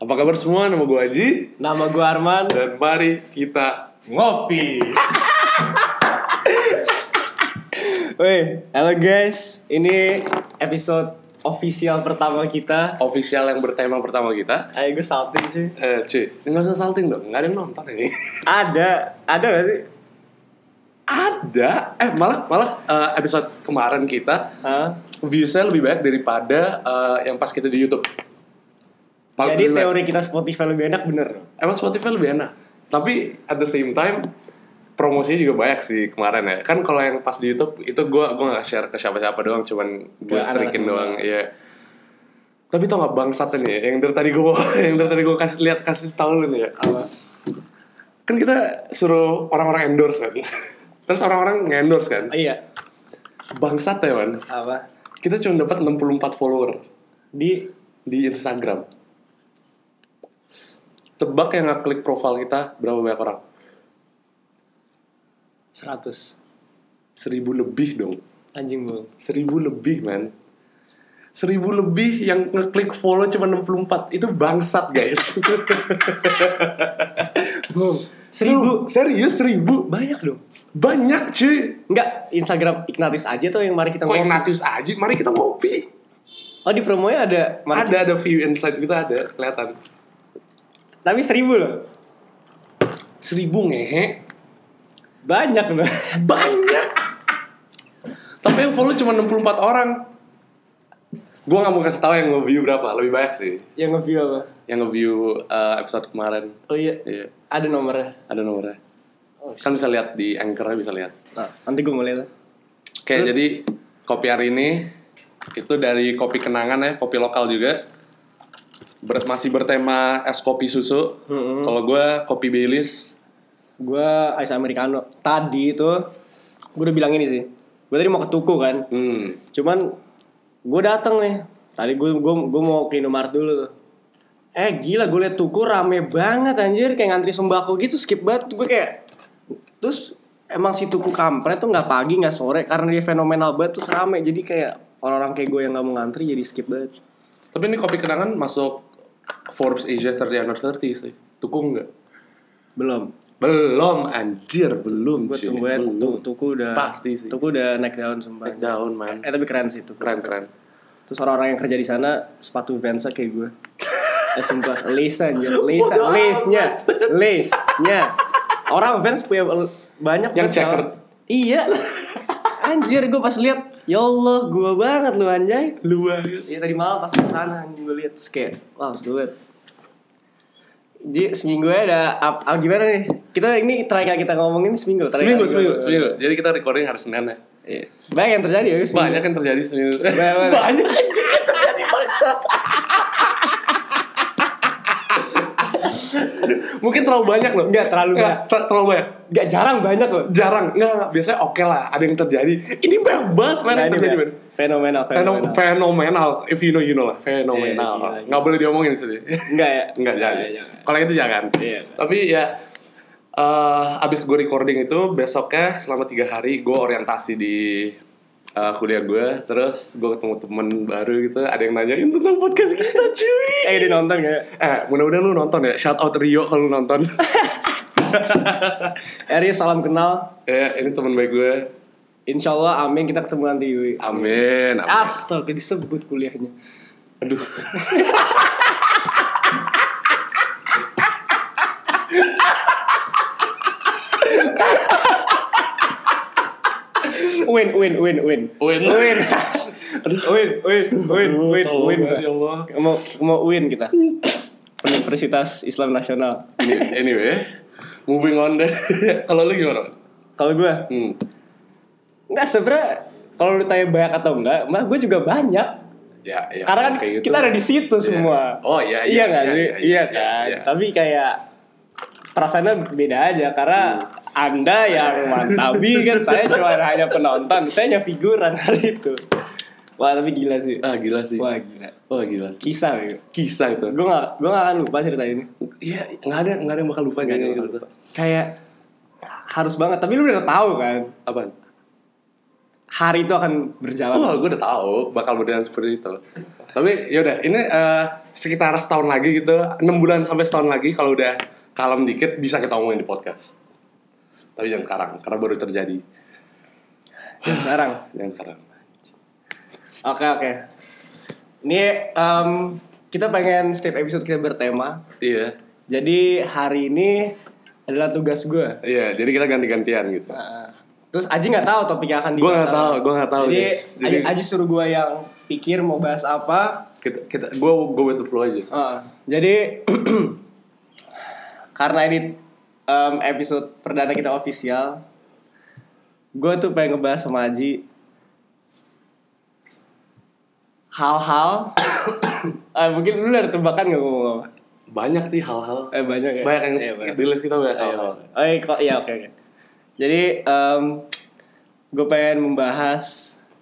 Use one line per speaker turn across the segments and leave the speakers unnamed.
Apa kabar semua? Nama gue Aji
Nama gue Arman.
dan mari kita ngopi.
Woi, halo guys. Ini episode official pertama kita.
Official yang bertema pertama kita.
Ayo gue salting sih.
Eh, cuy, nggak usah salting dong, nggak ada yang nonton ini.
Ada, ada gak sih?
ada, eh malah malah eh, episode kemarin kita
Hah?
viewsnya lebih banyak daripada eh, yang pas kita di YouTube. Paling
Jadi
lebih banyak.
teori kita Spotify lebih enak bener.
emang Spotify lebih enak. Tapi at the same time promosinya juga banyak sih kemarin ya. Kan kalau yang pas di YouTube itu gua gua nggak share ke siapa-siapa doang, cuman gue
Ke
strikin
anak-anak ya.
doang. Iya. Tapi tau gak bangsat nih ya, yang dari tadi gue yang dari tadi gue kasih lihat kasih tahu lu nih ya.
Apa?
Kan kita suruh orang-orang endorse kan. Terus orang-orang nge-endorse kan.
Oh, iya,
Bangsat ya, man.
apa?
Kita cuma dapat 64 follower
Di
di Instagram. Tebak yang ngeklik profile kita berapa banyak orang?
100.
seribu lebih dong
Anjing bung.
seribu lebih man seribu lebih yang ngeklik follow cuma 64 itu bangsat guys
Bung.
seribu
Seribu.
serius seribu
Banyak dong.
banyak cuy
Enggak, Instagram Ignatius aja tuh yang mari kita
kok
ngopi.
Ignatius aja mari kita ngopi
Oh di promonya ada mari
ada ada view insight kita ada kelihatan
Tapi seribu loh.
seribu ngehe
Banyak loh.
banyak tapi yang follow cuma 64 orang gue nggak mau kasih tahu yang nge-view berapa lebih banyak sih
yang nge-view apa?
yang nge-view eh, episode kemarin
Oh iya,
iya
ada nomornya.
ada nomornya
Oh,
kan bisa lihat di anchornya bisa lihat
Nah, nanti gue mulai lah.
oke jadi kopi hari ini itu dari kopi kenangan ya kopi lokal juga Ber- masih bertema es kopi susu
Mm-mm.
kalau gue kopi Baileys
Gue ice americano. Tadi itu gue udah bilang ini sih. Gue tadi mau ke tuku kan.
hmm
Cuman gue datang nih. Tadi gue gue gue mau ke Indomaret dulu tuh. Eh gila gue liat tuku rame banget anjir kayak ngantri sembako gitu skip banget gue kayak terus emang si tuku kampret tuh nggak pagi nggak sore karena dia fenomenal banget terus rame jadi kayak orang-orang kayak gue yang nggak mau ngantri jadi skip banget
tapi ini kopi kenangan masuk Forbes Asia 30 under 30 sih tukung nggak
belum
belum anjir belum
gue
cuy.
tunggu ya
belum
tuku, tuku udah
Pasti sih.
tuku udah naik daun sumpah
Back down man
eh tapi keren sih tuku
keren keren
Terus orang-orang yang kerja di sana sepatu Vans kayak gue. Eh sumpah, lace anjir, lace,
Bodoh
lace-nya, lace-nya. Orang Vans punya l- banyak
Yang
banget,
checkered.
kawan. Iya. Anjir, gue pas lihat, ya Allah, gue banget lu anjay.
lu banget
Ya tadi malam pas ke tanah anjing gue lihat terus kayak, wow, gue. Jadi seminggu ya ada up, up gimana nih? Kita ini terakhir kali kita ngomongin seminggu, terakhir
seminggu
kali
seminggu
kita-
seminggu jadi kita recording hari Senin ya
kan Iya. Banyak yang terjadi ya seminggu.
banyak yang terjadi seminggu
Banyak.
banyak yang terjadi bangsat mungkin terlalu banyak loh
Nggak, terlalu
Nggak, ter- terlalu banyak
Gak jarang banyak loh.
jarang nggak nggak. biasanya oke lah ada yang terjadi ini banyak banget man,
Nah,
yang
ini
terjadi man.
Bel. fenomenal,
Fenom-
fenomenal.
fenomenal if you know you know lah
Iya,
fenomenal
gila, gila.
nggak boleh diomongin sih
Enggak ya?
Enggak jangan.
Iya, jangan.
Kalau itu jangan.
Iya.
Tapi ya eh abis gue recording itu besoknya selama tiga hari gue orientasi di eh, kuliah gue terus gue ketemu temen baru gitu ada yang nanyain tentang podcast kita cuy
Eh, dia nonton gak? ya?
eh mudah-mudahan lu nonton ya shout out Rio kalau lu nonton
Eri, salam kenal.
eh ini temen baik gue
Insya Allah, amin. Kita ketemu nanti. Yui.
amin, amin.
Astaga, disebut kuliahnya.
aduh
Win, win, win, win.
Win.
Win. win, win, win, win,
Tolong
win.
banget, ya Allah.
Mau, mau win kita. Universitas Islam Nasional.
Anyway, anyway moving on deh kalau lu gimana
Kalau gue,
hmm.
enggak sebenernya kalau lu tanya banyak atau enggak, mah gue juga banyak.
ya, ya
Karena kan
kayak gitu.
kita ada di situ semua.
Oh, iya, iya,
Iya nggak
iya,
sih?
iya, iya,
Iya kan.
iya.
Tapi kayak perasaannya beda aja karena
Hmm.
Anda yang mantabi kan saya cuma hanya penonton, saya hanya figuran hari itu. Wah, tapi gila sih.
ah gila sih
Wah, gila.
wah gila sih
Kisah gitu.
kisah itu
Gue gak, gue gak akan lupa cerita ini.
Iya, nggak ada nggak ada yang bakal lupa
Nggak ada
nyanyi
yang
gitu.
Kayak harus banget, tapi lu udah tahu kan.
Apaan?
Hari itu akan berjalan.
Oh, gue udah tahu bakal berjalan seperti itu. Tapi yaudah, ini eh, sekitar setahun lagi gitu, 6 bulan sampai setahun lagi kalau udah kalem dikit bisa kita omongin di podcast. Tapi jangan sekarang, karena baru terjadi.
Yang sekarang.
Jangan sekarang.
Oke oke. Ini em, kita pengen setiap episode kita bertema.
Iya.
Jadi hari ini adalah tugas gue.
Iya, jadi kita ganti-gantian gitu.
Nah, terus Aji nggak tahu topiknya
Gua
akan
nggak
dibahas
tahu,
apa.
gua nggak tahu,
Jadi,
guys.
Aji,
Jadi-
Aji suruh gue yang pikir mau bahas apa.
Kita kita gua go with the flow aja.
Eh, jadi karena ini em, episode perdana kita official, gue tuh pengen ngebahas sama Aji hal-hal. Eh, mungkin lu ada tebakan gak ngomong apa?
Banyak sih hal-hal.
Eh banyak ya.
Banyak yang
Iya, banyak.
di list kita banyak
Iya,
hal-hal.
banyak. Oh, iya, kok- iya, oke oke. Jadi gue pengen membahas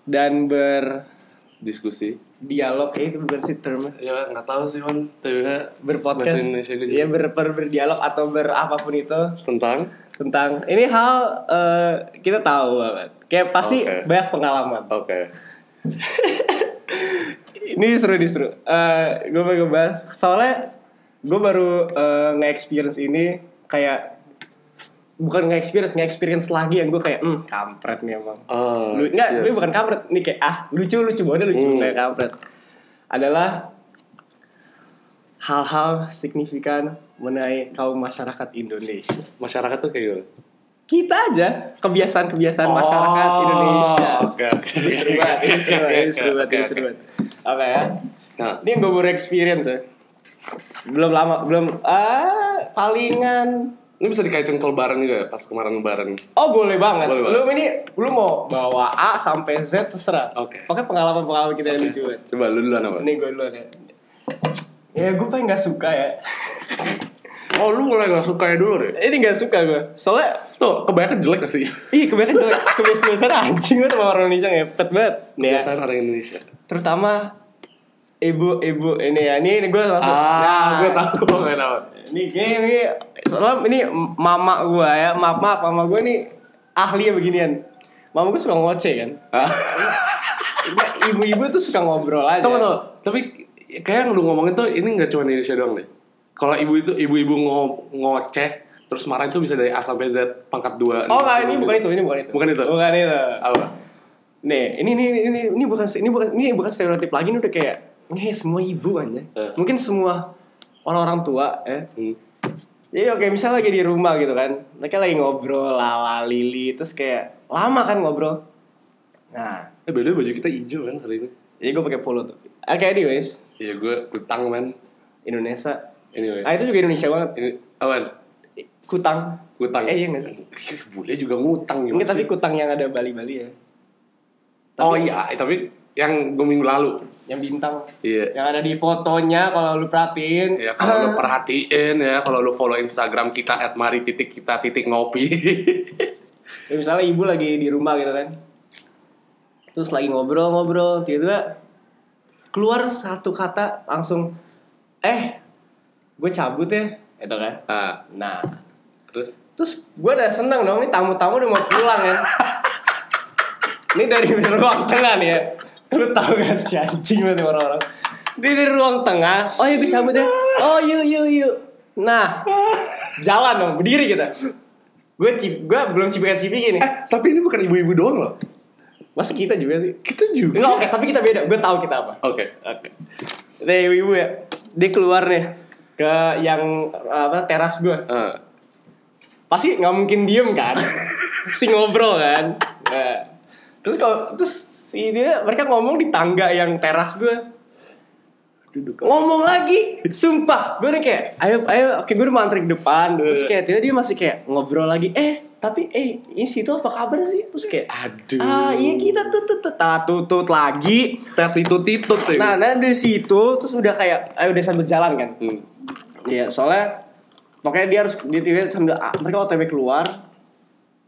dan berdialog
Diskusi.
eh, itu bukan sih termnya
Ya nggak tahu sih man, tapi ya,
berpodcast
Bahasa Indonesia gitu.
ya ber, ber- berdialog atau berapapun itu
tentang
tentang ini hal eh, kita tahu banget kayak pasti
Oke.
banyak pengalaman
oke.
ini seru ini seru gue pengen bahas soalnya gue baru eh, nge-experience ini kayak bukan nge-experience nge-experience lagi yang gue kayak hmm kampret nih emang
Oh,
Lu,
iya.
enggak, ini bukan kampret. Ini kayak ah lucu lucu banget lucu
Hmm.
kayak kampret. Adalah hal-hal signifikan mengenai kaum masyarakat Indonesia.
masyarakat tuh kayak gitu.
Kita aja kebiasaan-kebiasaan masyarakat
Oh.
Indonesia.
Oke, oke.
Ini seru banget, ini seru banget, ini seru banget,
Oke,
ini
oke.
seru banget. Apa ya?
Nah,
Ini yang gue baru experience ya. Belum lama, belum ah palingan
ini bisa dikaitin ke lebaran juga ya, pas kemarin lebaran.
Oh boleh banget.
Boleh
Lu ini lu mau bawa A sampai Z terserah.
Oke.
Pakai pengalaman-pengalaman kita yang lucu ya. banget.
Coba lu duluan apa?
Ini gue duluan ya. Ya gue paling gak suka ya.
Oh, lu mulai gak suka ya dulu deh.
Ini gak suka gue. Soalnya
Tuh, kebanyakan jelek gak sih?
Ih kebanyakan jelek Kebiasaan anjing banget sama orang Indonesia ngepet banget ya,
Kebiasaan orang Indonesia.
Terutama Ibu-ibu ini ya Ini, ini gue langsung
Ah.
Nah,
gue Nah, tahu, gue tahu.
Ini gini ini, Soalnya ini mama gue ya Maaf maaf mama gue nih Ahli ya beginian Mama gue suka ngoceh kan
Ah.
Ibu-ibu tuh suka ngobrol aja
Tunggu, tunggu. Tapi kayak yang lu ngomongin tuh ini gak cuma Indonesia doang deh. Kalau ibu itu ibu-ibu ngo- ngoceh terus marah itu bisa dari A sampai Z pangkat 2.
Oh enggak, ini bukan itu, ini bukan itu.
Bukan itu?
Bukan itu.
gitu. Apa?
Nih, ini ini ini ini, ini bukan ini bukan ini bukan stereotip lagi ini udah kayak nih semua ibu aja.
Eh.
Mungkin semua orang-orang tua eh.
Hmm.
Jadi oke misalnya lagi di rumah gitu kan. Mereka lagi ngobrol lala lili terus kayak lama kan ngobrol. Nah,
Eh, beda baju kita hijau kan hari ini.
jadi gue pakai polo tuh. Oke, anyways,
Iya, gue kutang, man.
Indonesia.
Anyway.
Ah itu juga Indonesia banget.
Ini awan
Kutang.
Kutang.
Eh iya nggak sih?
Boleh juga ngutang
Mungkin
gimana
tapi
sih?
kutang yang ada Bali-Bali ya.
Oh iya, tapi yang gue minggu lalu.
Yang bintang.
Iya.
Yang ada di fotonya kalau lu perhatiin.
Ya kalau lu perhatiin ya, kalau lu follow Instagram kita at mari titik kita titik ngopi.
Ya, misalnya ibu lagi di rumah gitu kan terus lagi ngobrol-ngobrol tiba-tiba keluar satu kata langsung eh gue cabut ya itu kan
nah,
nah
terus
terus gue udah seneng dong nih tamu-tamu udah mau pulang kan ini dari ruang tengah nih ya lu tau kan si anjing banget orang-orang dia dari ruang tengah oh iya gue cabut ya oh yuk yuk yuk nah jalan dong berdiri kita gue cip gue belum cipikan cipikin nih
eh tapi ini bukan ibu-ibu doang loh.
Masa kita juga sih?
Kita
Enggak,
juga.
oke, tapi kita beda. Gue tahu kita apa.
Oke.
Oke. Nih, ibu ya. Dia keluar nih ke yang apa teras gue.
Eh,
Pasti nggak mungkin diem kan? si ngobrol kan. Nah. Terus kalau terus si dia mereka ngomong di tangga yang teras gue.
duduk.
Ngomong lagi, sumpah. Gue udah kayak, ayo, ayo, oke gue udah mantri ke depan. Terus kayak, tiba dia masih kayak ngobrol lagi. Eh, tapi eh, ini situ apa kabar sih? Terus kayak,
Aduh.
ah iya kita tutut, tutut, tutut lagi.
Tetitut titut ya.
Nah, nah dari situ terus udah kayak eh, udah sambil jalan kan.
Hmm.
Iya, soalnya pokoknya dia harus dia tiba sambil ah, mereka OTW keluar.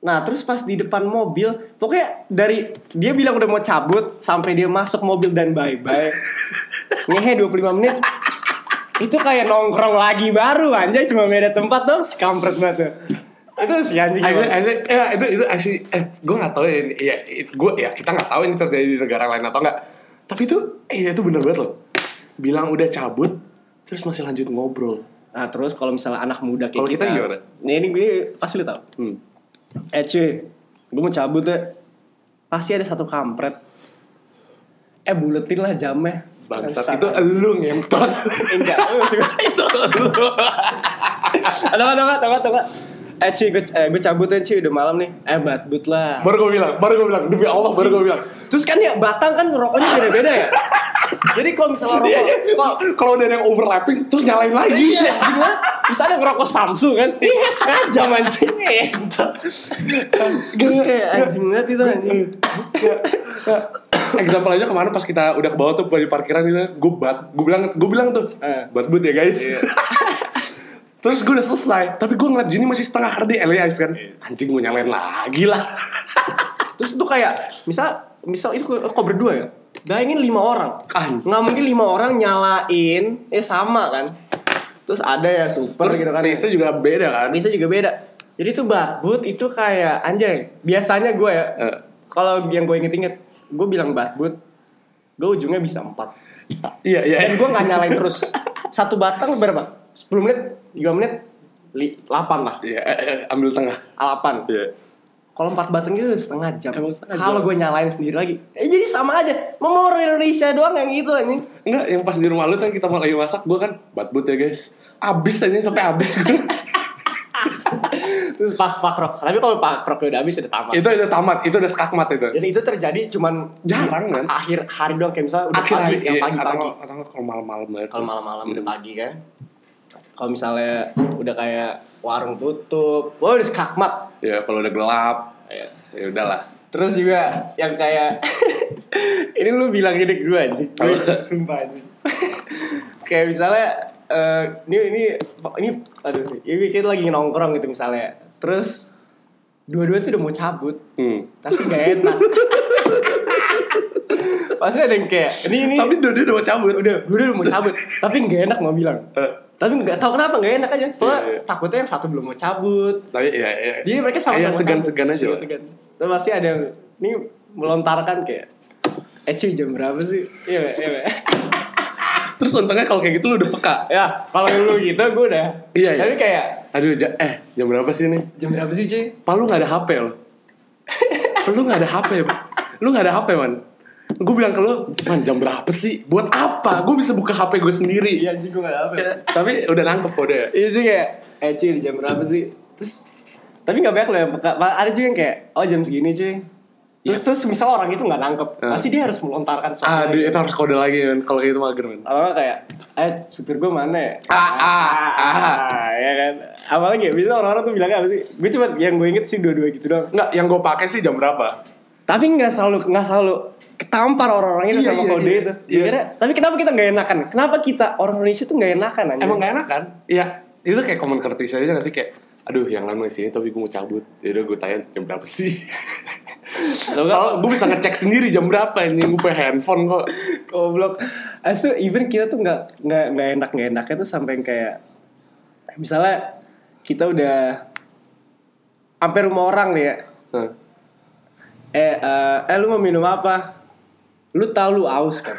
Nah, terus pas di depan mobil, pokoknya dari dia bilang udah mau cabut sampai dia masuk mobil dan bye-bye. Ngehe 25 menit. Itu kayak nongkrong lagi baru anjay cuma beda tempat dong, si kampret banget. tuh. Itu si anjing.
Actually,
banget.
actually, eh, itu itu actually, eh, gue nggak tahu ya, ini- ya, it- gua ya kita nggak tahu ini terjadi di negara lain atau nggak. Tapi itu, eh, itu bener banget loh. bilang udah cabut terus masih lanjut ngobrol
Nah terus kalau misalnya anak muda kayak
Kalau kita gimana?
Nih ini gue pasti lu tau
hmm.
Eh cuy Gue mau cabut deh Pasti ada satu kampret Eh buletin lah jamnya
bangsat itu elu ngentot
Enggak lu maksud gue-
itu elu
Tunggu tunggu tunggu tunggu Eh cuy gue, eh, gue cabut ya cuy udah malam nih Eh batbut lah
baru gue bilang baru gue bilang demi Allah baru gue bilang
Terus kan ya Batang kan rokoknya beda-beda ya Jadi kalau misalnya
Iya,
rokok
iya. kalau udah ada yang overlapping terus nyalain lagi
Iya gila Misalnya ngerokok Samsung kan Iya sengaja mancing Terus kayak Iya, anjing banget itu anjing
Ya. Example aja kemarin pas kita udah ke bawah tuh di parkiran itu, gue bat, gue bilang, gue bilang tuh,
Eh.
bat but ya guys. Terus gue udah selesai, tapi gue ngeliat Juni masih setengah kerdi LAIS kan,
Iya.
anjing gue nyalain lagi lah.
Terus itu kayak misal misal itu kok kok berdua ya? Bayangin lima orang.
Kan.
Nggak mungkin lima orang nyalain eh sama kan. Terus ada ya super
Terus
gitu kan.
pace-nya juga beda kan.
Bisa juga beda. Jadi tuh batbut itu kayak anjay. Biasanya gue ya.
Eh.
Kalau yang gue inget-inget, gue bilang batbut, gue ujungnya bisa empat.
Iya iya.
Dan gue nggak nyalain terus. Satu batang berapa? 10 menit, 3 menit, li- 8 lah.
Iya, eh, eh, ambil tengah.
8.
Iya.
Kalau empat batang itu setengah jam.
Emang setengah
Kalau
jam.
gue nyalain sendiri lagi, eh, jadi sama aja. Mau orang Indonesia doang yang itu anjing.
Enggak, yang pas di rumah lu kan kita mau lagi masak, gue kan bat but ya guys. Abis aja sampai abis gue.
Terus pas pakrok. Tapi kalau pakroknya udah habis udah tamat.
itu udah tamat, itu udah skakmat itu.
Jadi Iya. itu terjadi cuman
Jarang kan?
akhir hari doang kayak misalnya udah
Akhir
pagi,
hari,
yang
iya.
pagi-pagi.
Atau, Hmm. atau nggak Iya, kalau malam-malam banget.
Kalau malam-malam udah pagi kan. Kalau misalnya udah kayak warung tutup, wah udah skakmat.
Ya kalau udah gelap, ya udahlah.
Terus juga yang kayak Oh. ini lu bilang gini ke gue anjing. Gue sumpah anjing. kayak misalnya eh, ini ini ini aduh ini kita lagi nongkrong gitu misalnya. Terus dua-dua tuh udah mau cabut
Hmm.
tapi gak enak. Pasti ada yang kayak ini ini
Tapi dia udah mau cabut.
udah gue udah mau cabut tapi gak enak mau bilang.
Eh,
Tapi nggak tahu kenapa gak enak aja. Soalnya
Iya, iya.
takutnya yang satu belum mau cabut,
tapi ya, ya.
jadi mereka sama-sama
Kayak segan-segan
cabut.
aja. Pak.
Segan-segan. Terus pasti ada yang ini melontarkan kayak Eh cuy jam berapa sih? Iya, Pak, iya. Pak."
Terus untungnya kalau kayak gitu lu udah peka.
ya, kalau lu gitu gue udah.
Iya, iya.
Tapi kayak
Aduh, ja- eh jam berapa sih ini?
jam berapa sih, cuy?
Pak lu nggak ada HP lo. lu nggak ada HP, Pak. lu nggak ada HP man. Gue bilang ke lu, man jam berapa sih? Buat apa? Gue bisa buka HP gue sendiri.
Iya, cuy gue gak ada apa.
Ya, Tapi udah nangkep kode ya.
Iya, cuy kayak eh cuy jam berapa sih? Terus tapi gak banyak loh yang peka. Pa- Ada juga yang kayak oh jam segini, cuy.
Iya.
Terus, terus misal orang itu gak nangkep,
Eh.
pasti dia harus melontarkan soal
Aduh, itu harus kode lagi man. Kalau kayak itu mager man.
Apa kayak eh supir gue mana ya?
Ah, ah, ah.
Ah, ya kan. Apalagi ya, biasanya orang-orang tuh bilangnya apa sih? Gue cuma yang gue inget sih dua-dua gitu doang.
Enggak, yang gue pakai sih jam berapa?
Tapi nggak selalu nggak selalu ketampar orang-orang itu
Iya,
sama
iya,
kode
iya.
itu.
Iya.
Akhirnya- tapi kenapa kita nggak enakan? Kenapa kita orang Indonesia tuh nggak enakan anjing?
Emang gak enak kan? Iya, itu kayak common courtesy aja gak sih kayak aduh yang lama di sini tapi gue mau cabut Ya yaudah gue tanya jam berapa sih
Lo nggak-
kalau gue bisa ngecek sendiri jam berapa ini gue punya handphone kok
goblok. As tuh even kita tuh nggak nggak nggak enak nggak enaknya tuh sampai yang kayak misalnya kita udah sampai rumah orang nih ya.
Hah.
Eh, eh, eh lu mau minum apa? Lu tahu lu aus kan?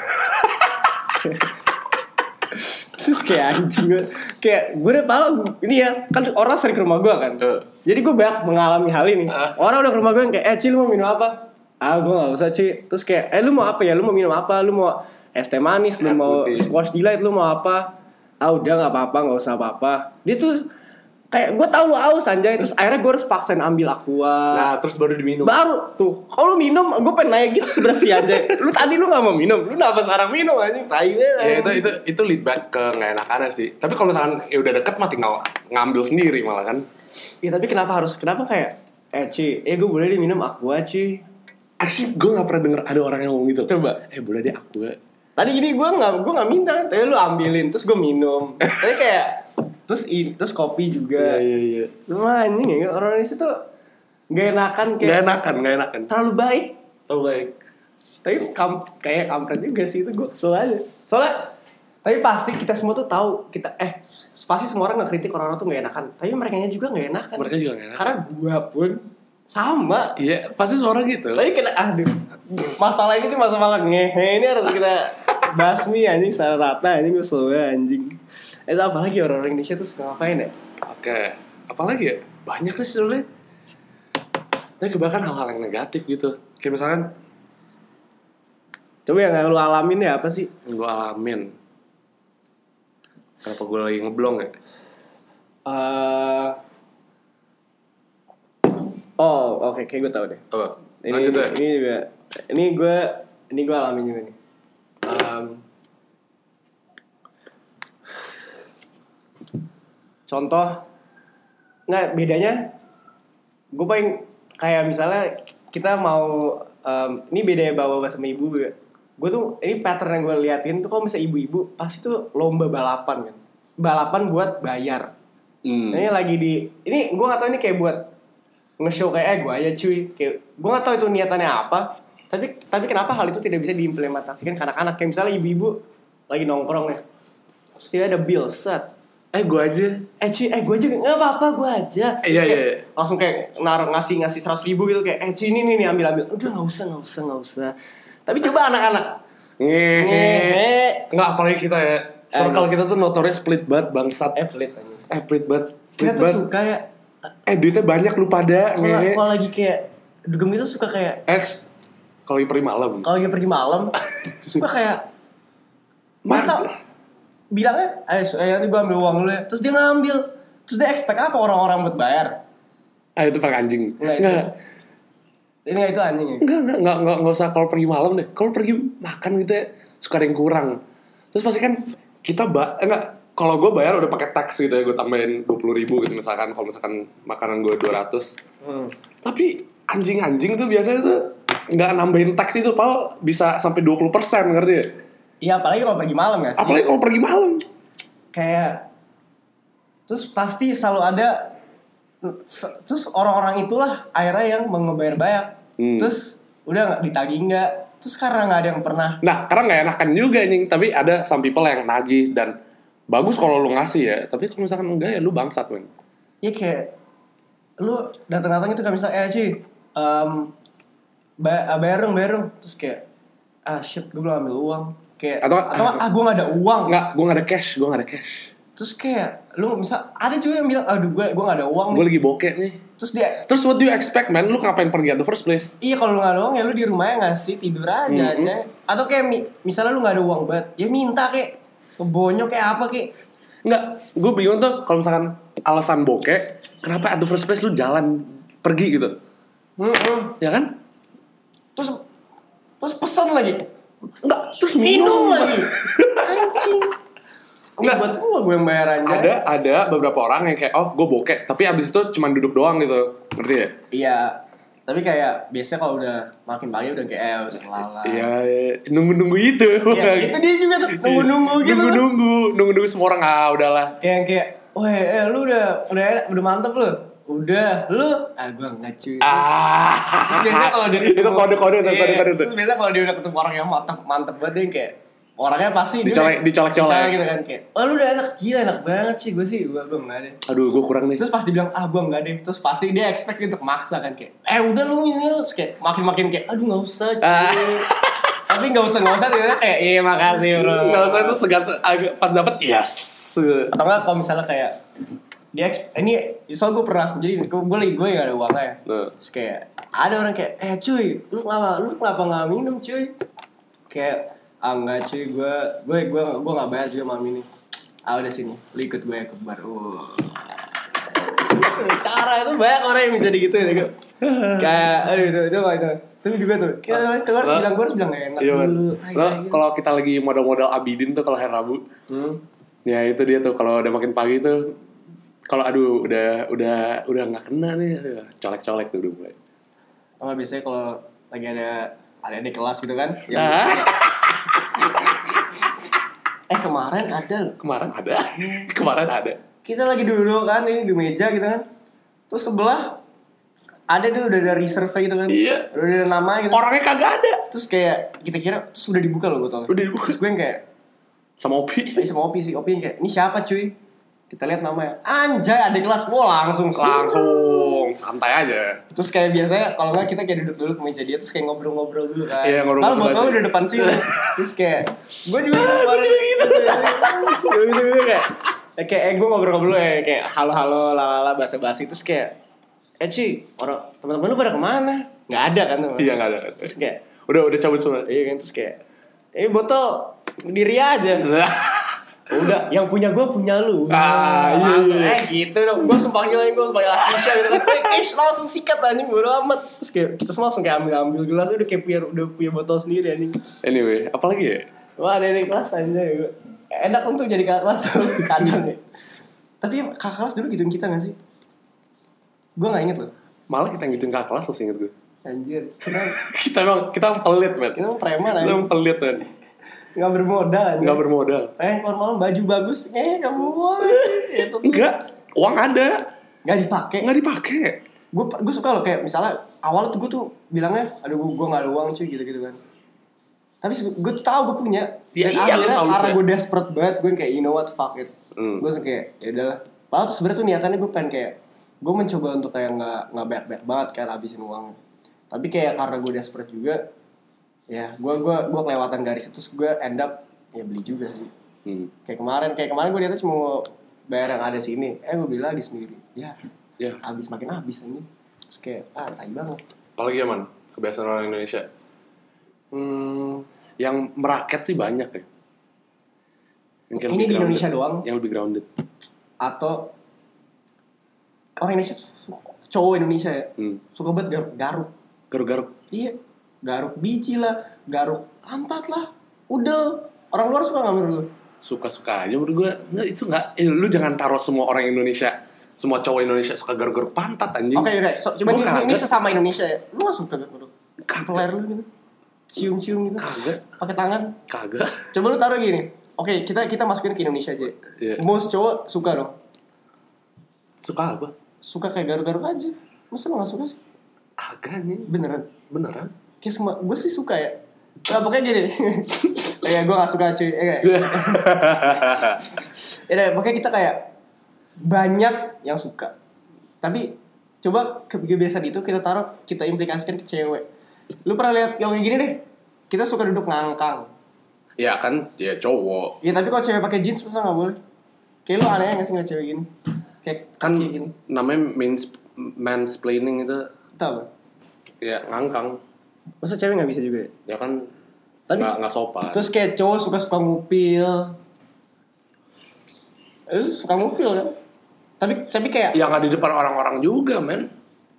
Terus kayak anjing gue Kayak gue udah paham Ini ya Kan orang sering ke rumah gue kan
Eh.
Jadi gue banyak mengalami hal ini Orang udah ke rumah gue yang kayak Eh Ci lu mau minum apa? Ah gue gak usah Ci Terus kayak Eh lu mau apa ya? Lu mau minum apa? Lu mau es teh manis? Lu
Air
mau
putih.
squash delight? Lu mau apa? Ah udah gak apa-apa Gak usah apa-apa Dia tuh Kayak gue tau lu aus anjay Terus akhirnya gue harus paksain ambil aqua
nah terus baru diminum
baru tuh kalau lu minum gue pengen nanya gitu sebenernya sih aja lu tadi lu gak mau minum lu kenapa sekarang minum aja tai banget.
ya itu itu itu lead back ke nggak enakannya sih tapi kalau misalkan ya udah deket mah tinggal ngambil sendiri malah kan
ya tapi kenapa harus kenapa kayak eh Ci eh gue boleh diminum aqua Ci
actually gue nggak pernah denger ada orang yang ngomong gitu
Coba.
eh boleh deh aku
tadi gini gue gak gue gak minta tapi lu ambilin terus gue minum tapi kayak terus i- terus kopi juga
iya iya
Cuma anjing ya orang Indonesia tuh gak enakan
nggak
kayak
enakan nggak enakan
terlalu baik
tau like
tapi kam kayak kampret juga sih itu gue kesel aja soalnya tapi pasti kita semua tuh tahu kita eh pasti semua orang ngekritik orang-orang tuh gak enakan tapi mereka juga gak enakan
mereka juga nggak enakan
karena gua pun sama
iya pasti suara gitu
tapi kena aduh masalah ini tuh masalah ngehe ini harus kita Basmi anjing secara rata anjing kesel banget anjing. Itu apalagi orang-orang Indonesia tuh suka ngapain ya?
Oke, apalagi ya? Banyak sih sebenarnya. Tapi kebanyakan hal-hal yang negatif gitu. Kayak misalkan
Coba yang lu alamin ya apa sih?
yang gue alamin. Kenapa gue lagi ngeblong ya?
Eh Oh, oke, kayak gue tau deh.
Apa?
Ini,
Lanjut ya?
ini juga, ini gue, ini gue alamin juga nih. Em, contoh, nggak bedanya, gue paling kayak misalnya kita mau, em, ini bedanya bawa sama ibu gue. Gue tuh, ini pattern yang gue liatin tuh kalau misalnya ibu-ibu pasti tuh lomba balapan kan, balapan buat bayar.
Hmm.
Ini lagi di ini gue gak tau ini kayak buat nge-show kayak eh gue aja cuy. Kayak gue gak tau itu niatannya apa. Tapi tapi kenapa hal itu tidak bisa diimplementasikan ke anak-anak kayak misalnya ibu-ibu lagi nongkrong ya. Terus dia ada bill set.
Eh gue aja.
Eh cuy, eh gue aja nggak apa-apa gue aja.
Eh, iya,
Kayak
iya, iya.
Langsung kayak naruh ngasih ngasih seratus ribu gitu kayak eh cuy ini nih nih ambil ambil. Udah nggak usah nggak usah nggak usah. Tapi coba anak-anak.
Ngehe.
Eh,
Nggak, apalagi kita ya. Circle kita tuh notornya split banget, bangsat.
eh pelit aja.
Eh, split banget. Split
Kita tuh
banget.
suka ya.
Eh, duitnya banyak lu pada.
Kalau
ngehe.
kalau lagi kayak dugem gitu suka kayak
Eh, kalau lagi pergi malam.
kalau lagi pergi malam suka kayak
Mar-
Mata- bilangnya ayo so- eh, nanti gue ambil uang dulu ya terus dia ngambil terus dia expect apa orang-orang buat bayar
Ah, itu paling anjing. Nggak,
Nggak, itu-
nggak,
ini itu anjing ya
nggak, nggak, nggak, nggak usah kalau pergi malam deh. Kalau pergi makan gitu ya, suka ada yang kurang. Terus pasti kan kita ba eh, nggak kalau gue bayar udah pakai tax gitu ya, gue tambahin dua puluh ribu gitu misalkan. Kalau misalkan makanan gue 200
hmm.
Tapi anjing-anjing tuh biasanya tuh nggak nambahin tax itu, pal bisa sampai 20% ngerti ya?
iya apalagi kalau pergi malam ya sih
Apalagi kalau pergi malam.
kayak terus pasti selalu ada se- terus orang-orang itulah akhirnya yang mengebayar banyak
Hmm.
terus udah nggak ditagih nggak terus karena nggak ada yang pernah
Nah, karena nggak enakan juga anjing, tapi ada some people yang nagih dan bagus kalau lu ngasih ya, tapi kalau misalkan enggak ya lu bangsat, men.
ya kayak lu datang-datang itu kayak misalnya eh cuy em ba- ah, bayar dong bayar dong terus kayak ah shit gue belum ambil uang kayak atau,
Atau-
ah gue gak ada uang
Enggak, gue gak ada cash, gue gak ada cash.
terus kayak lu misal ada juga yang bilang aduh gue gue gak ada uang
Gue lagi bokeh nih.
terus dia
Terus what do you expect, man? Lu ngapain pergi at the first place?
iya kalau lu gak ada uang ya lu di rumahnya ngasih tidur aja
Mhm.
aja atau kayak mi- misalnya lu gak ada uang banget ya minta kayak kebonyok kayak apa kayak
Enggak, gue bingung tuh kalau misalkan alasan bokeh, kenapa at the first place lu jalan pergi gitu?
Mm-mm.
Ya kan?
terus terus pesan lagi
Enggak, terus minum,
minum lagi anjing
Nggak.
Enggak buat gua gue yang bayar aja.
Ada ada beberapa orang yang kayak oh gue bokeh, tapi abis itu cuman duduk doang gitu, ngerti ya?
Iya. Tapi kayak biasanya kalau udah makin pagi udah kayak eh selala.
Iya, ya, nunggu-nunggu itu.
Iya, itu dia juga tuh nunggu-nunggu gitu. tuh.
Iya. Nunggu-nunggu, nunggu-nunggu semua orang ah udahlah.
Kayak kayak, "Wah, eh lu udah udah enak- udah mantep lu." Udah, lu ah gua enggak cuy.
Ah,
Terus biasanya kalau dia
itu kode-kode,
Iya,
kode-kode tuh.
Terus biasanya kalau dia udah ketemu orang yang mantep mantep banget dia kayak orangnya pasti dia
Dicolek-
udah-
dicolek-colek.
dicolek gitu kan kayak, "Wah, lu udah enak gila enak banget sih gua sih." Gua gua enggak deh.
Aduh, gue kurang nih.
Terus pas dibilang ah gua enggak deh. Terus pasti dia expect dia untuk maksa kan kayak, "Eh udah lu ini." lu." Terus kayak makin-makin kayak, "Aduh enggak usah." cuy."
Ah.
Tapi enggak usah enggak usah dia kayak, "Iya makasih, Bro."
Nggak usah itu segan agak- pas dapet yes. Iya,
Atau enggak kalau misalnya kayak dia ex- ini soal gue pernah jadi gue lagi gue gak ada uangnya ya.
Nah.
terus kayak ada orang kayak eh cuy lu kenapa lu kenapa nggak minum cuy kayak ah enggak cuy gue gue gue gue nggak bayar juga malam ini ah udah sini lu ikut gue ke bar oh cara itu banyak orang yang bisa digituin ya, kayak aduh itu itu itu tapi juga tuh kayak gue harus
Lo-
bilang gue harus bilang gak enak
Iya, kan?
dulu gitu." Ay,
Lo,
ay, ay.
kalau kita lagi modal-modal Abidin tuh kalau hari Rabu,
Hmm.
ya itu dia tuh kalau udah makin pagi tuh kalau aduh udah udah udah nggak kena nih aduh, colek-colek tuh udah mulai.
Kalau biasanya kalau lagi ada ada di kelas gitu kan. yang-
Ya,
Eh kemarin ada loh.
kemarin ada. kemarin ada.
Kita lagi duduk kan ini di meja gitu kan. Terus sebelah ada tuh udah dari survei gitu kan.
Iya.
Udah ada nama gitu.
Orangnya kagak ada.
Terus kayak kita kira terus udah dibuka loh botolnya.
Udah dibuka.
Terus gue yang kayak
Sama Opi.
ini sama Opi sih. Opi yang kayak ini siapa cuy? kita lihat namanya anjay adik kelas wow langsung
langsung santai aja
terus kayak biasanya kalau nggak kita kayak duduk dulu ke meja dia terus kayak ngobrol-ngobrol dulu kan
Iya, ngobrol-ngobrol
Padahal bokap
aja.
udah depan sini terus kayak gue juga gitu
gua juga gitu.
gue gitu gue kayak eh, kayak eh gue ngobrol-ngobrol dulu ya kayak halo-halo lalala basa-basi terus kayak eh Ci, orang teman-teman lu pada kemana nggak ada kan teman
iya nggak ada
terus kayak
udah udah cabut semua
iya kan terus kayak eh botol diri aja udah yang punya gue punya lu
Ah, iya,
Langsung,
iya.
eh gitu dong gue langsung panggil aja gue langsung panggil Aisyah gitu kan Eh, ish, langsung sikat anjing bodo amat terus kayak terus langsung kayak ambil ambil gelas udah kayak punya udah punya botol sendiri anjing
anyway apalagi ya
wah ada di kelas aja gue enak untuk jadi kakak kelas kadang ya tapi kakak kelas dulu gituin kita gak sih gue gak inget loh
malah kita ngituin kakak kelas masih inget gue
anjir kita
kita emang kita emang pelit men
kita emang preman
kita
anjing
emang pelit men
nggak bermodal anjing
nggak bermodal
eh malam-malam baju bagus eh kamu mau itu
enggak uang ada
nggak dipakai
nggak dipakai
gue gue suka loh kayak misalnya awal tuh gue tuh bilangnya aduh gue gue nggak ada uang cuy gitu gitu kan tapi gue tahu gue punya
Ya
dan
iya, lu
akhirnya
tahu lu
karena
punya.
gue desperate banget gue kayak you know what fuck it
Hmm.
gue kayak ya udahlah padahal tuh sebenarnya tuh niatannya gue pengen kayak gue mencoba untuk kayak nggak nggak banyak banyak banget kayak habisin uang tapi kayak karena gue desperate juga ya gue gue gue kelewatan garis itu gue end up ya beli juga sih
hmm.
kayak kemarin kayak kemarin gue niatnya cuma mau bayar yang ada sini eh gue beli lagi sendiri ya
ya
habis makin habis aja terus kayak ah tai banget
apalagi ya man kebiasaan orang Indonesia
hmm,
yang meraket sih banyak ya Yang kayak
Ini
lebih ya.
di Indonesia doang?
yang lebih grounded
atau orang Indonesia tuh su- cowok Indonesia ya
hmm.
suka banget garuk garuk
garuk-garuk
iya garuk biji lah garuk pantat lah udel orang luar suka nggak menurut lu?
suka-suka aja menurut gue nggak itu nggak eh, lu jangan taruh semua orang Indonesia semua cowok Indonesia suka garuk-garuk pantat anjing
oke oke so, coba
Iya. Gua
ini, ini- ini
kagak.
sesama Indonesia ya lu nggak suka garuk
Kagak.
peler lu gitu cium-cium gitu
Kagak.
pakai tangan
kagak
coba lu taruh gini oke kita kita masukin ke Indonesia aja
Iya.
most cowok suka dong
suka apa
suka kayak garuk-garuk aja masa lu nggak suka sih
kagak nih
beneran
beneran
kayak semua gue sih suka ya Nah, pokoknya gini ya gue gak suka cuy ya, ya udah, pokoknya kita kayak banyak yang suka tapi coba ke- kebiasaan itu kita taruh kita implikasikan ke cewek lu pernah lihat yang kayak gini deh kita suka duduk ngangkang
ya kan ya cowok
ya tapi kalau cewek pakai jeans masa nggak boleh kayak lu aneh nggak sih nggak cewek gini kayak
kan
kayak gini
namanya mans mansplaining itu
tau gak?
ya ngangkang
masa cewek nggak bisa juga
ya
ya?
kan
Tapi-
nggak nggak sopan
Terus kayak cowok suka-suka ngupil. Eh, Lu suka ngupil kan? Tapi tapi kayak
ya nggak di depan orang-orang juga men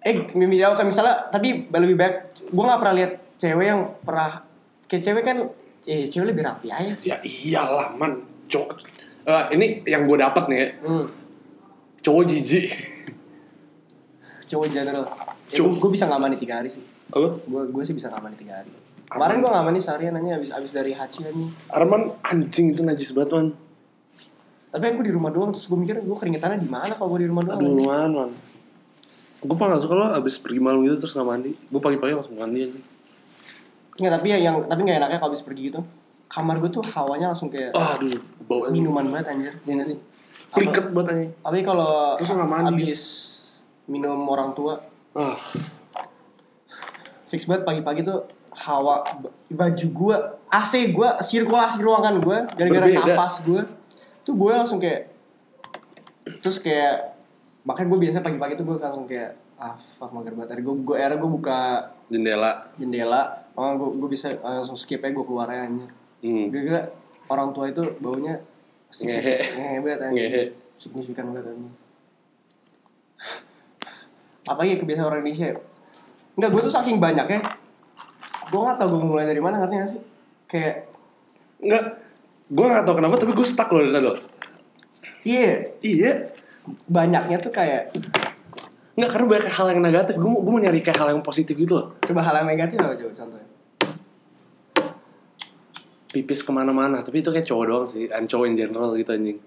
eh mimi jauh kan misalnya tapi lebih baik gue nggak pernah lihat cewek yang pernah kayak cewek kan eh cewek lebih rapi aja sih.
ya iyalah man cowok Eh, ini yang gue dapat nih ya.
Hmm,
cowok jijik
cowok general.
Cowok.
gue bisa ngamani tiga hari sih.
apa
Gue gue sih bisa ngamani tiga hari. Kemarin gue ngamani seharian aja abis abis dari haji aja.
Arman anjing itu najis banget man
Tapi kan gue di rumah doang terus gue mikir gue keringetannya di mana kalau gue di rumah doang.
Aduh man, man. Gue paling gak suka lo abis pergi malam gitu terus gak mandi Gue pagi-pagi langsung mandi aja
Nggak, tapi yang, yang tapi nggak enaknya kalau abis pergi gitu. Kamar gue tuh hawanya langsung kayak
Aduh, bau aja
minuman banget anjir ya nggak sih
Priket banget aja
tapi kalau
Terus nggak mandi.
habis minum orang tua
Ah,
fix banget pagi-pagi tuh hawa ba- baju gua AC gua sirkulasi ruangan gua gara-gara
Berbeda.
nafas gua tuh gua langsung kayak terus kayak makanya gue biasanya pagi-pagi tuh gua langsung kayak ah fuck mager banget Akhirnya gua gue akhirnya gue buka
jendela
jendela oh gue gue bisa langsung skip aja gue keluar aja anjir.
hmm.
gara-gara orang tua itu baunya signifikan-
Ngehe.
ngehe banget anjing.
Ngehe.
signifikan banget anjing. apa ya kebiasaan orang Indonesia ya? Enggak, gue tuh saking banyak ya Gue gak tau gue mulai dari mana ngerti gak sih Kayak
Enggak, gue gak tau kenapa tapi gue stuck loh dari tadi lo
Iya
Iya
Banyaknya tuh kayak
Enggak, karena banyak hal yang negatif Gue mau, gue mau nyari kayak hal yang positif gitu loh
Coba hal yang negatif apa coba contohnya
Pipis kemana-mana, tapi itu kayak cowok doang sih And cowok in general gitu anjing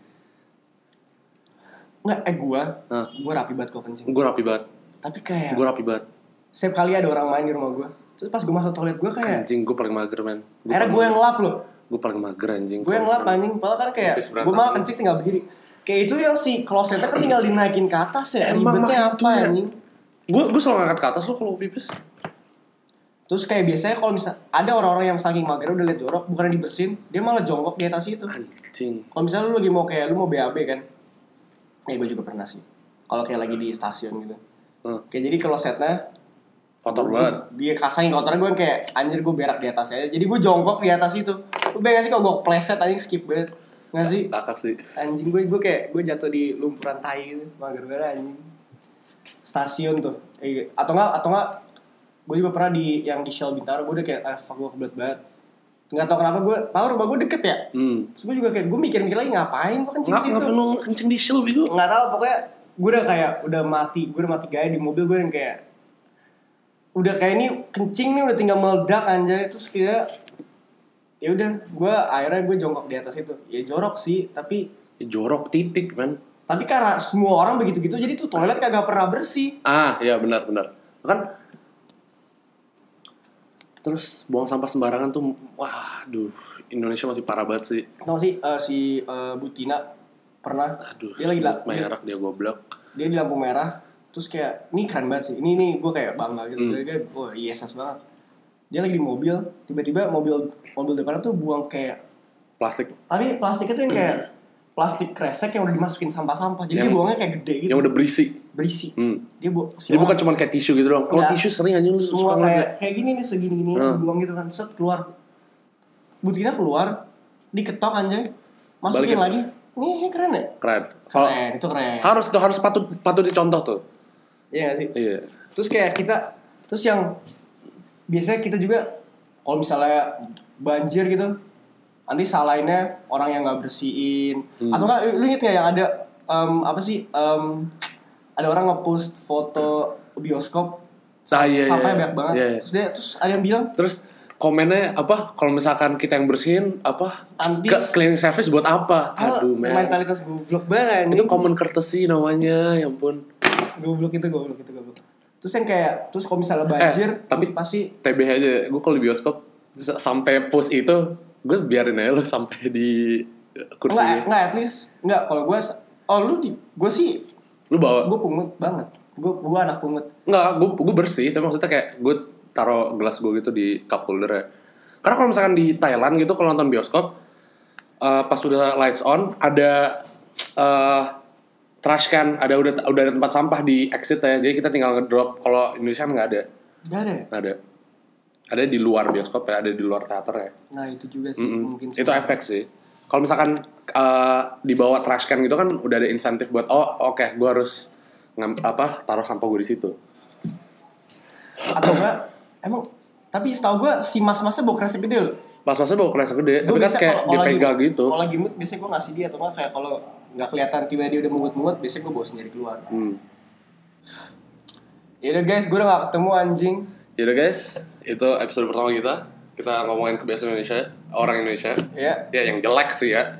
Enggak, eh gue
Hah.
Gue rapi banget kok kencing
Gue rapi banget,
Tapi kayak
gue rapi banget
Setiap kali ada orang main di rumah gue Terus pas gue masuk toilet gue kayak
Anjing, gue paling mager men
Akhirnya gue Eh. yang lap loh
Gue paling mager anjing
gue yang lap anjing padahal kan kayak
Tipis berantakan.
gue malah kencing tinggal berdiri Kayak itu yang si klosetnya kan tinggal dinaikin ke atas ya.
Emang, makanya
Ribetnya apa
itu ya.
anjing?
Gue gue selalu ngangkat ke atas lo kalau pipis.
Terus kayak biasanya kalau misal ada orang-orang yang saking mager udah liat jorok bukannya dibersihin, dia malah jongkok di atas itu.
Anjing.
Kalau misalnya lu lagi mau kayak lu mau BAB kan. Eh gue juga pernah sih. Kalau kayak lagi di stasiun gitu.
Hmm.
Kayak jadi klosetnya
Kotor banget.
Dia kasangin kotornya gue kayak anjir gue berak di atas aja. Jadi gue jongkok di atas itu. Lu bayangin sih kalau gue pleset anjing skip banget. Nggak sih?
Kakak sih.
Anjing gue gue kayak gue jatuh di lumpuran tai gitu. Mager banget anjing. Stasiun tuh. Eh, atau enggak atau enggak gue juga pernah di yang di Shell Bintaro gue udah kayak ah fuck gue kebelet banget. Nggak tau kenapa gue, tahu rumah gue deket ya.
Hmm.
Terus gue juga kayak gue mikir-mikir lagi ngapain gue kencing
Ngap
situ.
ngapain lu kencing di shell bigo?
Nggak tahu pokoknya gue udah kayak udah mati, gue udah mati gaya di mobil gue yang kayak udah kayak ini kencing nih udah tinggal meledak anjay terus kayak ya udah gue akhirnya gue jongkok di atas itu ya jorok sih tapi
Ya, jorok titik man.
tapi karena semua orang begitu gitu jadi tuh toilet kagak pernah bersih
Ah ya benar benar. Kan terus buang sampah sembarangan tuh wah aduh Indonesia masih parah banget sih
tau gak sih eh, si eh, Butina pernah
aduh
dia lagi
sebut
la- dia,
merek dia goblok
dia di lampu merah terus kayak ini keren banget sih ini nih gue kayak bangga gitu
Hmm.
dia, dia wah ISS banget dia lagi di mobil tiba-tiba mobil mobil depannya tuh buang kayak
plastik
tapi plastiknya tuh yang kayak plastik kresek yang udah dimasukin sampah-sampah jadi dia
Yang-
buangnya kayak gede gitu
yang udah berisi
berisi
hmm.
dia buang
jadi bukan cuma kayak tisu gitu doang kalau
Enggak.
tisu sering aja lu
Iya. semua
suka
kayak
ngeliat
kayak gini nih segini gini
Hmm.
dibuang gitu kan set keluar butiknya keluar diketok anjay masukin
Balikin.
lagi nih keren ya
keren kalau
keren itu keren
harus tuh harus patut patut dicontoh tuh
iya gak sih
iya
terus kayak kita terus yang biasanya kita juga kalau misalnya banjir gitu nanti salahinnya orang yang nggak bersihin
Hmm.
atau nggak lu inget nggak yang ada em, apa sih em, ada orang ngepost foto bioskop
nah, iya, iya,
sampahnya
iya.
banyak banget
Iya, iya.
terus dia terus ada yang bilang
terus komennya apa kalau misalkan kita yang bersihin apa
Anti-
ke cleaning service buat apa
"Ah,
aduh men
mentalitas goblok banget
itu common courtesy namanya ya ampun
goblok itu goblok itu goblok terus yang kayak terus kalau misalnya banjir
Eh, tapi-
pasti
TBH aja gue kalau di bioskop s- sampai push itu gue biarin aja lo sampai di eh,
enggak
kursinya
enggak at least enggak kalau gue oh lu di gue sih
lu bawa
gue pungut banget gue gue anak pungut
nggak gue gue bersih tapi maksudnya kayak gue taruh gelas gue gitu di cup holder ya karena kalau misalkan di Thailand gitu kalau nonton bioskop eh, pas udah lights on ada eh trash can ada udah udah ada tempat sampah di exit ya jadi kita tinggal ngedrop kalau Indonesia kan nggak ada
gak ada ya?
nggak ada ada di luar bioskop ya ada di luar teater ya
nah itu juga sih
Mm-mm.
mungkin
itu efek sih kalau misalkan eh, dibawa trash can gitu kan udah ada insentif buat oh oke gue harus ngam, apa taruh sampah gue di situ
atau enggak emang tapi setahu gue si mas masnya bawa kresek gede loh
pas masnya bawa kerasa gede
Gua
tapi kan
biasanya
kayak
kalau- kalau lagi
dipegang
mood-
gitu
kalau lagi mood biasanya gue ngasih dia atau enggak kayak kalau nggak kelihatan tiba dia udah mungut-mungut biasanya gue bawa sendiri keluar
hmm.
Yaudah guys gue udah gak ketemu anjing
yaudah guys itu episode pertama kita kita ngomongin kebiasaan Indonesia orang Indonesia
ya
ya yang jelek sih ya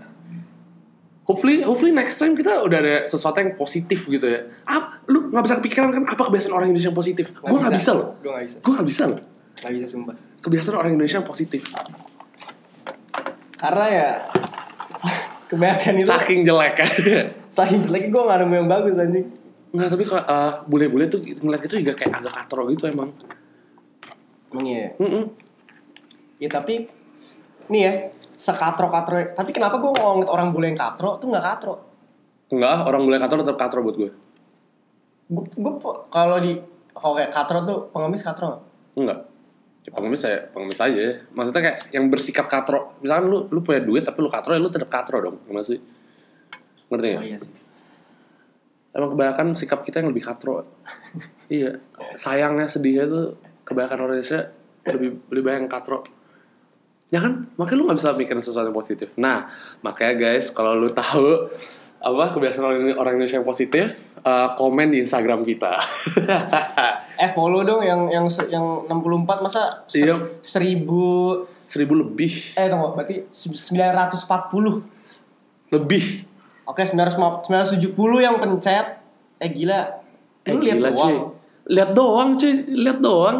hopefully hopefully next time kita udah ada sesuatu yang positif gitu ya ah, lu nggak bisa kepikiran kan apa kebiasaan orang Indonesia yang positif gue nggak bisa loh
gue gak bisa
gue nggak bisa loh
gak bisa sumpah
kebiasaan orang Indonesia yang positif
karena ya sa- kebanyakan itu
saking jelek kan
saking jeleknya gue gak nemu yang bagus anjing
Nggak, tapi kalau eh, bule-bule tuh ngeliat itu juga kayak agak katro gitu emang.
emang iya ya?
Mm-mm.
Ya tapi nih ya sekatro katro. Tapi kenapa gue ngomongin orang bule yang katro tuh nggak katro?
Enggak, orang bule katro tetap katro buat gue.
Gue kalau di kalau kayak katro tuh pengemis katro.
Enggak. Ya, pengemis saya, pengemis aja. ya. Maksudnya kayak yang bersikap katro. Misalkan lu lu punya duit tapi lu katro ya lu tetap katro dong. Gimana sih? Ngerti
Oh
nggak?
iya sih.
Emang kebanyakan sikap kita yang lebih katro. iya. Sayangnya sedihnya tuh kebanyakan orang Indonesia lebih lebih banyak yang katro. Ya kan? Makanya lu nggak bisa mikirin sesuatu yang positif. Nah, makanya guys, kalau lu tahu apa kebiasaan orang, orang Indonesia yang positif, eh, komen di Instagram kita.
Eh follow dong yang yang se- yang 64 masa se-
Iya.
seribu
Seribu lebih,
eh tunggu berarti se- 940.
lebih.
Oke 950 970 yang pencet. Eh gila.
Eh,
Lu lihat
gila, cuy.
doang.
Lihat doang cuy, lihat doang.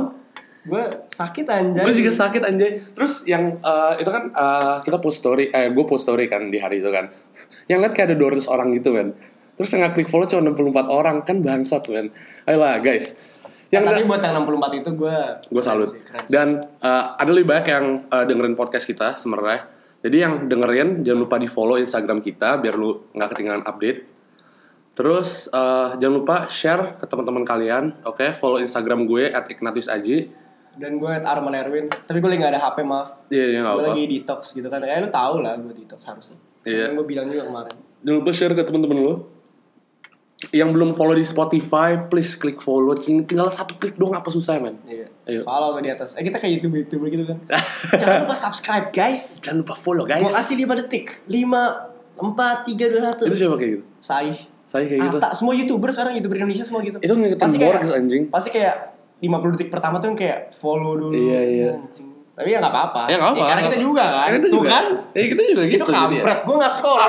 gue sakit anjay
Gue juga sakit anjay. Terus yang eh, itu kan eh, kita post story, eh gue post story kan di hari itu kan. Yang liat kayak ada 200 orang gitu kan. Terus yang klik follow cuma 64 orang kan bangsat kan. Ayolah guys.
yang
Yang
Ya, tapi buat yang 64 itu gue
gue salut. Dan eh, ada lebih banyak yang eh, dengerin podcast kita sebenarnya. Jadi yang dengerin jangan lupa di follow Instagram kita biar lu nggak ketinggalan update. Terus eh, jangan lupa share ke teman-teman kalian. Oke, follow Instagram gue @ignatiusaji.
dan gue at Arman Erwin tapi gue lagi gak ada HP maaf
Iya, iya nggak
gue
apa.
lagi detox gitu kan ya lu tau lah gue detox harusnya
Iya.
gue bilang juga kemarin
Jangan lupa share ke teman-teman lu. Yang belum follow di Spotify, please klik follow. Cing- Tinggal satu klik doang apa susah men?
Iya.
Ayo.
Follow ke di atas. Eh kita kayak YouTube YouTuber gitu kan. Jangan lupa subscribe guys.
Jangan lupa follow guys.
Gua kasih 5 detik. 5 4 3
Itu
2 1.
siapa kayak gitu?
Sai.
Saya kayak gitu.
Atta, semua YouTuber sekarang YouTuber Indonesia semua gitu.
Itu ngikutin
Pasti kayak-
Borges, anjing.
Pasti kayak 50 detik pertama tuh yang kayak follow dulu.
Iya, iya.
Anjing. Tapi ya enggak apa-apa.
Ya nggak apa.
karena kita juga kan.
Karena kita
Tuh
juga.
kan.
Ya kita juga gitu.
Itu
jadinya.
kampret. Gue enggak sekolah.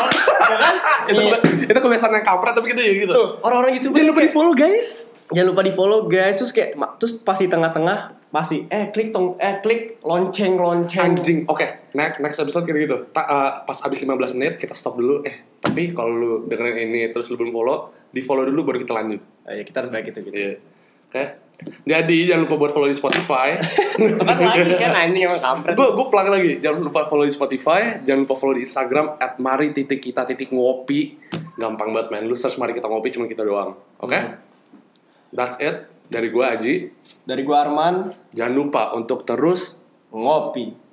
Tuh kan.
itu,
Iya.
itu kebiasaan yang kampret tapi kita juga gitu.
Tuh, orang-orang YouTuber
Jangan lupa di follow guys.
jangan lupa di follow guys terus kayak ma- terus pas di tengah-tengah masih eh klik tong eh klik lonceng lonceng
Anjing. Oke, next next episode kayak gitu. Ta- eh, pas abis 15 menit kita stop dulu. Eh, tapi kalau lu dengerin ini terus lu belum follow, di follow dulu baru kita lanjut.
Eh, ya kita harus baik itu gitu
Iya. Oke. Jadi jangan lupa buat follow di Spotify.
Tepat lagi kan anjing emang kampret
gue gue pelang lagi jangan lupa follow di Spotify jangan lupa follow di Instagram at mari titik kita titik ngopi gampang banget man lu search mari kita ngopi cuma kita doang oke
Hmm.
that's it dari gue Aji
dari gua Arman
jangan lupa untuk terus
ngopi